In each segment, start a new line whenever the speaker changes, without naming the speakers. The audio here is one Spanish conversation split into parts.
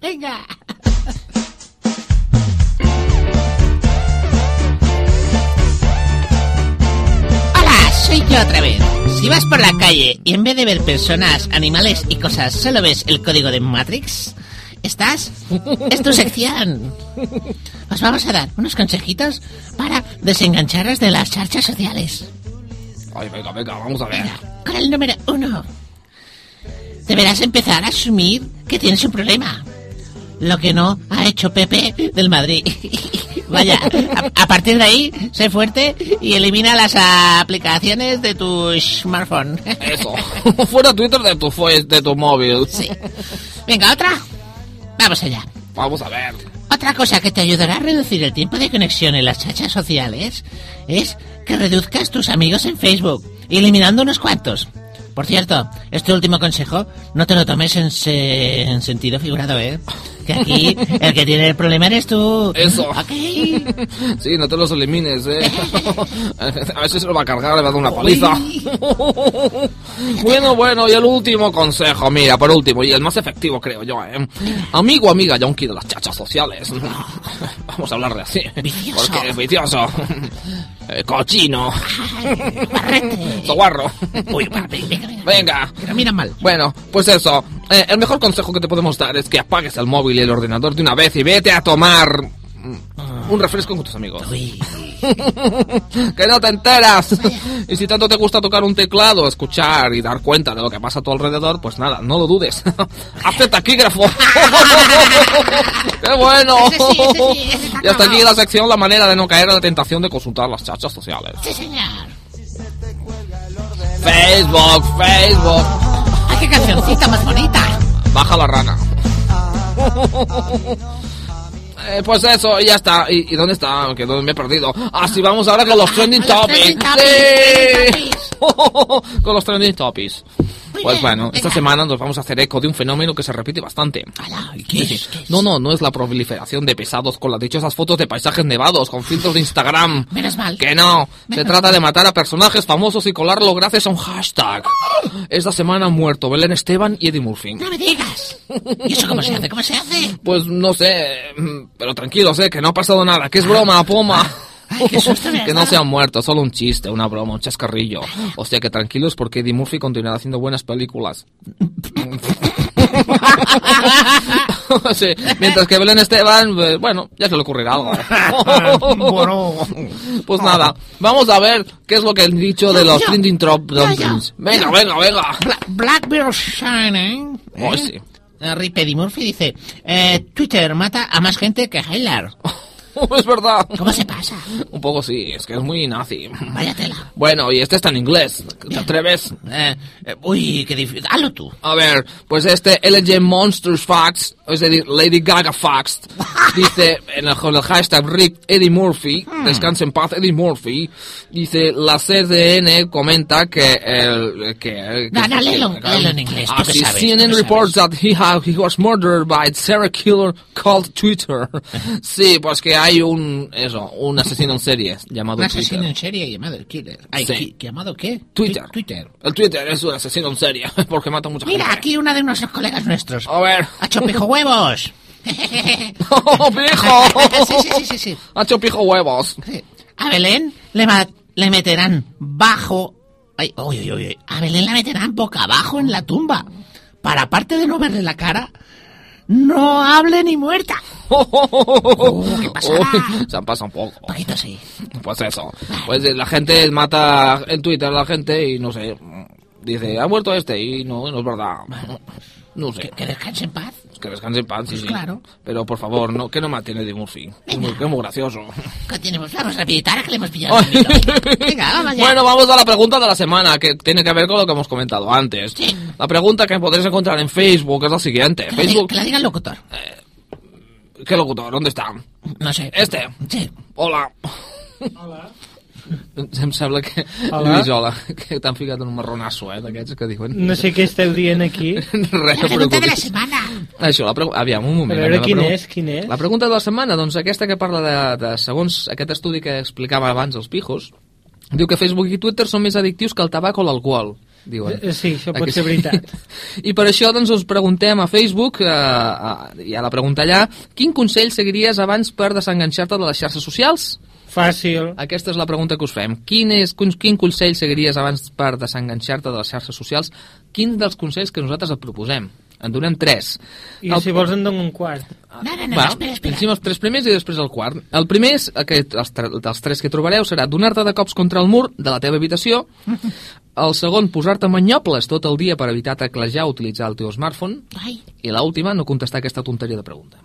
Venga. Hola, soy yo otra vez. Si vas por la calle y en vez de ver personas, animales y cosas, solo ves el código de Matrix, ¿estás? Es tu sección. Os vamos a dar unos consejitos para desengancharos de las charchas sociales.
Ay, venga, venga, vamos a ver.
Con el número uno. Deberás empezar a asumir que tienes un problema. Lo que no ha hecho Pepe del Madrid. Vaya, a, a partir de ahí, sé fuerte y elimina las aplicaciones de tu smartphone.
Eso. Fuera Twitter de tu fo- de tu móvil.
Sí. Venga, otra. Vamos allá.
Vamos a ver.
Otra cosa que te ayudará a reducir el tiempo de conexión en las chachas sociales es que reduzcas tus amigos en Facebook, eliminando unos cuantos. Por cierto, este último consejo no te lo tomes en, se- en sentido figurado, ¿eh? Que aquí el que tiene el problema eres tú.
Eso.
Ok.
Sí, no te los elimines, eh. A ver si se lo va a cargar, le va a dar una paliza. Bueno, bueno, y el último consejo, mira, por último, y el más efectivo, creo yo, eh. Amigo, amiga, ya de las chachas sociales. Vamos a hablarle así.
Vicioso.
Porque es vicioso. Eh, Cochino. Soguarro.
Uy, va, venga, venga.
Venga.
Pero mira mal.
Bueno, pues eso. Eh, el mejor consejo que te podemos dar es que apagues el móvil y el ordenador de una vez y vete a tomar mm, un refresco con tus amigos.
Uy.
que no te enteras. y si tanto te gusta tocar un teclado, escuchar y dar cuenta de lo que pasa a tu alrededor, pues nada, no lo dudes. Hazte taquígrafo. ¡Qué bueno!
Ese sí, ese sí, ese está
y hasta aquí
acabado.
la sección La manera de no caer a la tentación de consultar las chachas sociales.
Sí, señor.
Facebook, Facebook.
¡Ay, qué cancioncita más bonita!
Baja la rana. Eh, pues eso, y ya está. ¿Y, y dónde está? Que no me he perdido. Así vamos ahora con los trending
Con los trending
topics.
topics,
¡Sí! con los trending topics.
Muy
Pues
bien,
bueno,
venga.
esta semana nos vamos a hacer eco de un fenómeno que se repite bastante.
Hola, ¿y qué es? ¿Qué es?
No, no, no es la proliferación de pesados con las dichosas fotos de paisajes nevados con filtros de Instagram.
Menos mal.
Que no. Se trata de matar a personajes famosos y colarlo gracias a un hashtag. Esta semana han muerto Belén Esteban y Eddie Murphy.
No me digas. ¿Y eso cómo se hace? ¿Cómo se hace?
Pues no sé, mm, pero tranquilos, eh, que no ha pasado nada, que es broma, poma.
Ay, qué susto me has
que no
dado.
se han muerto, solo un chiste, una broma, un chascarrillo. O sea que tranquilos porque Eddie Murphy continuará haciendo buenas películas. Sí, mientras que Belén Esteban, eh, bueno, ya se le ocurrirá algo. Pues nada, vamos a ver qué es lo que han dicho de los
Yo,
trending top
yo, yo.
dumplings. Venga, venga, venga.
Bla- Blackbeard Shining. ¿eh?
Oh, sí.
Eh, Rip Eddie Murphy dice, eh, Twitter mata a más gente que Hitler.
Es verdad.
¿Cómo se pasa?
Un poco sí, es que es muy nazi.
Vaya tela.
Bueno, y este está en inglés. ¿Te atreves?
Eh, eh, uy, qué difícil. Hazlo tú.
A ver, pues este LG Monsters Facts, es decir, Lady Gaga Facts, dice en el, con el hashtag RIP Eddie Murphy,
Hmm.
descanse en paz Eddie Murphy, dice la CDN comenta que el... Que,
No,
que-
no,
que-
léelo,
que-
léelo en inglés, tú
Ah,
que
sí,
sabes,
CNN
tú que
reports that he, ha- he was murdered by serial killer called Twitter. sí, pues que hay un, eso, un asesino en serie llamado
Un
Twitter.
asesino en serie llamado el Killer. Ay,
Sí.
¿qui- ¿Llamado qué?
Twitter.
Tu- Twitter.
El Twitter es un asesino en serie, porque mata mucha gente.
Mira, aquí una de nuestros colegas nuestros.
A ver.
¡Hacho pijo huevos!
¡Oh, pijo!
sí, sí, sí, sí, sí.
Hacho pijo huevos.
Sí. A Belén le, ma- le meterán bajo. Ay, uy, uy, uy, uy. A Belén la meterán boca abajo en la tumba. Para aparte de no verle la cara, no hable ni muerta. Oh, ¿qué pasará?
Uy, se han pasado un poco.
Un poquito sí.
Pues eso. Pues eh, la gente mata en Twitter a la gente y no sé. Dice, ha muerto este y no, no es verdad. No
Que,
sé.
que descanse en paz.
Que descanse en paz, sí,
Pues
sí.
claro.
Pero por favor, no, que no maten a Eddie Murphy. Que es muy- que es muy gracioso.
Continuemos, vamos rapidita, ahora que le hemos pillado. el ritmo. Venga, Venga, vamos ya.
Bueno, vamos a la pregunta de la semana, que tiene que ver con lo que hemos comentado antes.
Sí.
La pregunta que podréis encontrar en Facebook es la siguiente.
que, la diga,
Facebook,
que la diga el locutor.
¿Qué locutor? ¿Dónde está?
No sé.
Este.
Sí.
Hola. Doncs Em sembla que...
Hola.
Lluís, hola. Que t'han ficat en un marronasso, eh, d'aquests que diuen.
No sé què esteu dient aquí.
Res,
La
no
pregunta de la
preocupis.
setmana.
Això, la pregu... aviam, un moment.
A veure,
aviam, la
quin
pregu-
és, quin és?
La pregunta de la setmana, doncs aquesta que parla de, de segons aquest estudi que explicava abans els pijos, diu que Facebook i Twitter són més addictius que el tabac o l'alcohol, diuen.
Eh, sí, això pot
Aquí-
ser veritat.
I per això doncs us preguntem a Facebook, eh, a, hi ha la pregunta allà, quin consell seguiries abans per desenganxar-te de les xarxes socials?
Fàcil.
Aquesta és la pregunta que us fem. Quin, és, quin, quin consell seguiries abans per desenganxar-te de les xarxes socials? Quin dels consells que nosaltres et proposem? En donem tres.
I si vols en dono un quart.
No, no, no,
Va,
espera, espera.
llegim els tres primers i després el quart. El primer, és aquest, els, tre- dels tres que trobareu, serà donar-te de cops contra el mur de la teva habitació. El segon, posar-te manyobles tot el dia per evitar teclejar o utilitzar el teu smartphone.
Ai,
I la última, no contestar aquesta tonteria de pregunta.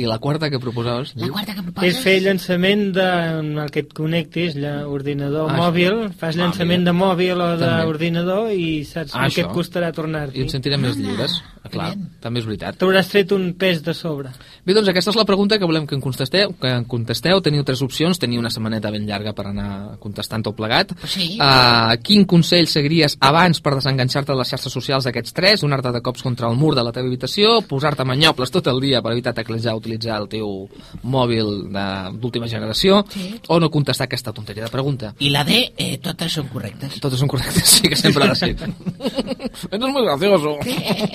I la quarta que proposaves?
la quarta que em
És
poses...
fer llançament de, en el que et connectis, l'ordinador
Ah,
ah, mòbil, fas llançament de mòbil o
També.
d'ordinador i saps
Ah,
el que
això.
et costarà
I ens
tornar-t'hi.
sentirem més lliures. Ah, clar, també és veritat.
T'hauràs tret un pes de sobre.
Bé, doncs aquesta és la pregunta que volem que en contesteu. Que en contesteu. Teniu tres opcions, teniu una setmaneta ben llarga per anar contestant tot plegat.
Sí.
Uh, quin consell seguiries abans per desenganxar-te de les xarxes socials d'aquests tres? Donar-te de cops contra el mur de la teva habitació, posar-te manyobles tot el dia per evitar teclejar o utilitzar el teu mòbil de- d'última generació,
Sí.
o no contestar aquesta tonteria de pregunta?
I la D, eh, totes són correctes.
Todos son correctos, sí, que siempre lo ha sido. Esto es muy gracioso.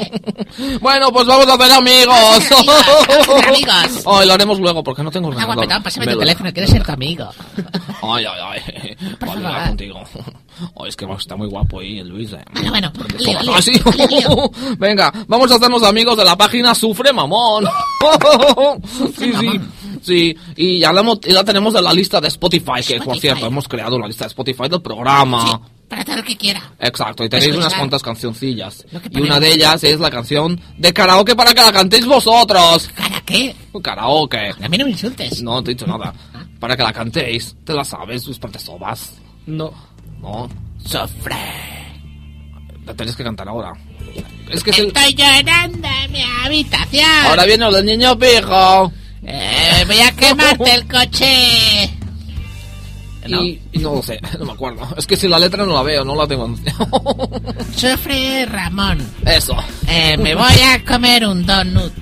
bueno, pues vamos a hacer amigos.
Vamos a hacer amigos.
Ay, lo haremos luego porque no tengo
Hola,
ordenador.
guapetón, pásame tu
Velo.
teléfono, quiero ser tu amigo.
Ay, ay, ay.
Por
Voy a
favor.
hablar contigo. Ay, es que está muy guapo ahí el Luis. eh.
Ah, Bueno, bueno,
Porque
lío,
somos
lío,
así.
lío, lío.
Venga, vamos a hacernos amigos de la página Sufre Mamón. sí, sí.
Mamón.
Sí, y ya la, hemos- ya la tenemos de la lista de Spotify, que por
Spotify.
cierto hemos creado la lista de Spotify del programa.
Sí, para todo lo que quiera.
Exacto, y tenéis
Escuchar.
unas cuantas cancioncillas.
Lo que
Y
ponemos.
una de ellas es la canción de karaoke para que la cantéis vosotros.
¿Para qué?
Karaoke.
A mí no me insultes.
No, te he dicho nada. Para que la cantéis. Te la sabes, tus partes sobas.
No.
No,
Sofre.
la tenéis que cantar ahora. Es que es el...
Estoy llorando en mi habitación.
Ahora viene el niño pijo.
Eh, voy a quemarte el coche. No.
Y, y no lo sé, no me acuerdo. Es que si la letra no la veo, no la tengo.
Sofre Ramón.
Eso.
Eh, me voy a comer un donut.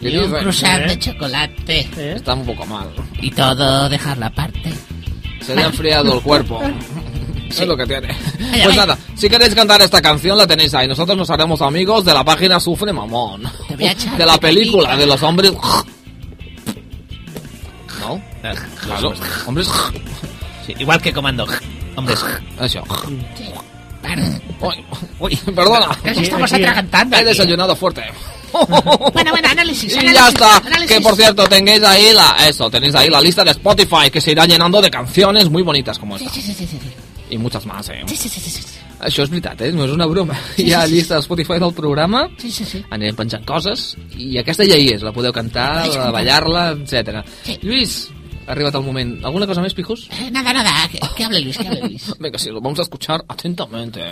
Y
Y un
dice,
croissant
¿eh?
de chocolate.
Eh?
Está un poco mal.
Y todo dejarlo aparte.
Se le ha enfriado el cuerpo. Es lo que tiene.
Ay,
Pues
ay.
nada, si queréis cantar esta canción la tenéis ahí. Nosotros nos haremos amigos de la página Sufre Mamón.
Te voy a echar
De la
de
película,
pica.
de los hombres... ¿No? Claro. Hombres...
igual que comando. Hombres.
Eso. Uy, uy,
Perdona.
perdona.
Casi estamos
Sí, sí.
atragantando.
He
aquí. ¿eh?
desayunado fuerte.
Bueno, bueno, análisis.
Y
análisis
ya está.
análisis.
Que por cierto, tenéis ahí la... Eso, tenéis ahí la lista de Spotify que se irá llenando de canciones muy bonitas como
Sí,
esta.
sí, sí, sí, sí, sí.
Y muchas más, eh.
Sí, sí, sí, sí, sí.
Això és veritat, eh? No és una broma. Hi ha
sí, sí.
llista de Spotify del programa,
Sí, sí, sí.
anirem penjant coses, i aquesta ja hi és, la podeu cantar,
Sí, sí.
la ballar-la, etc.
Sí.
Lluís, ha arribat el moment. Alguna cosa més, pijos?
Eh, Nada, nada. Que, que hable Luis, que hable Luis.
Vinga, sí, lo vamos a escuchar atentamente.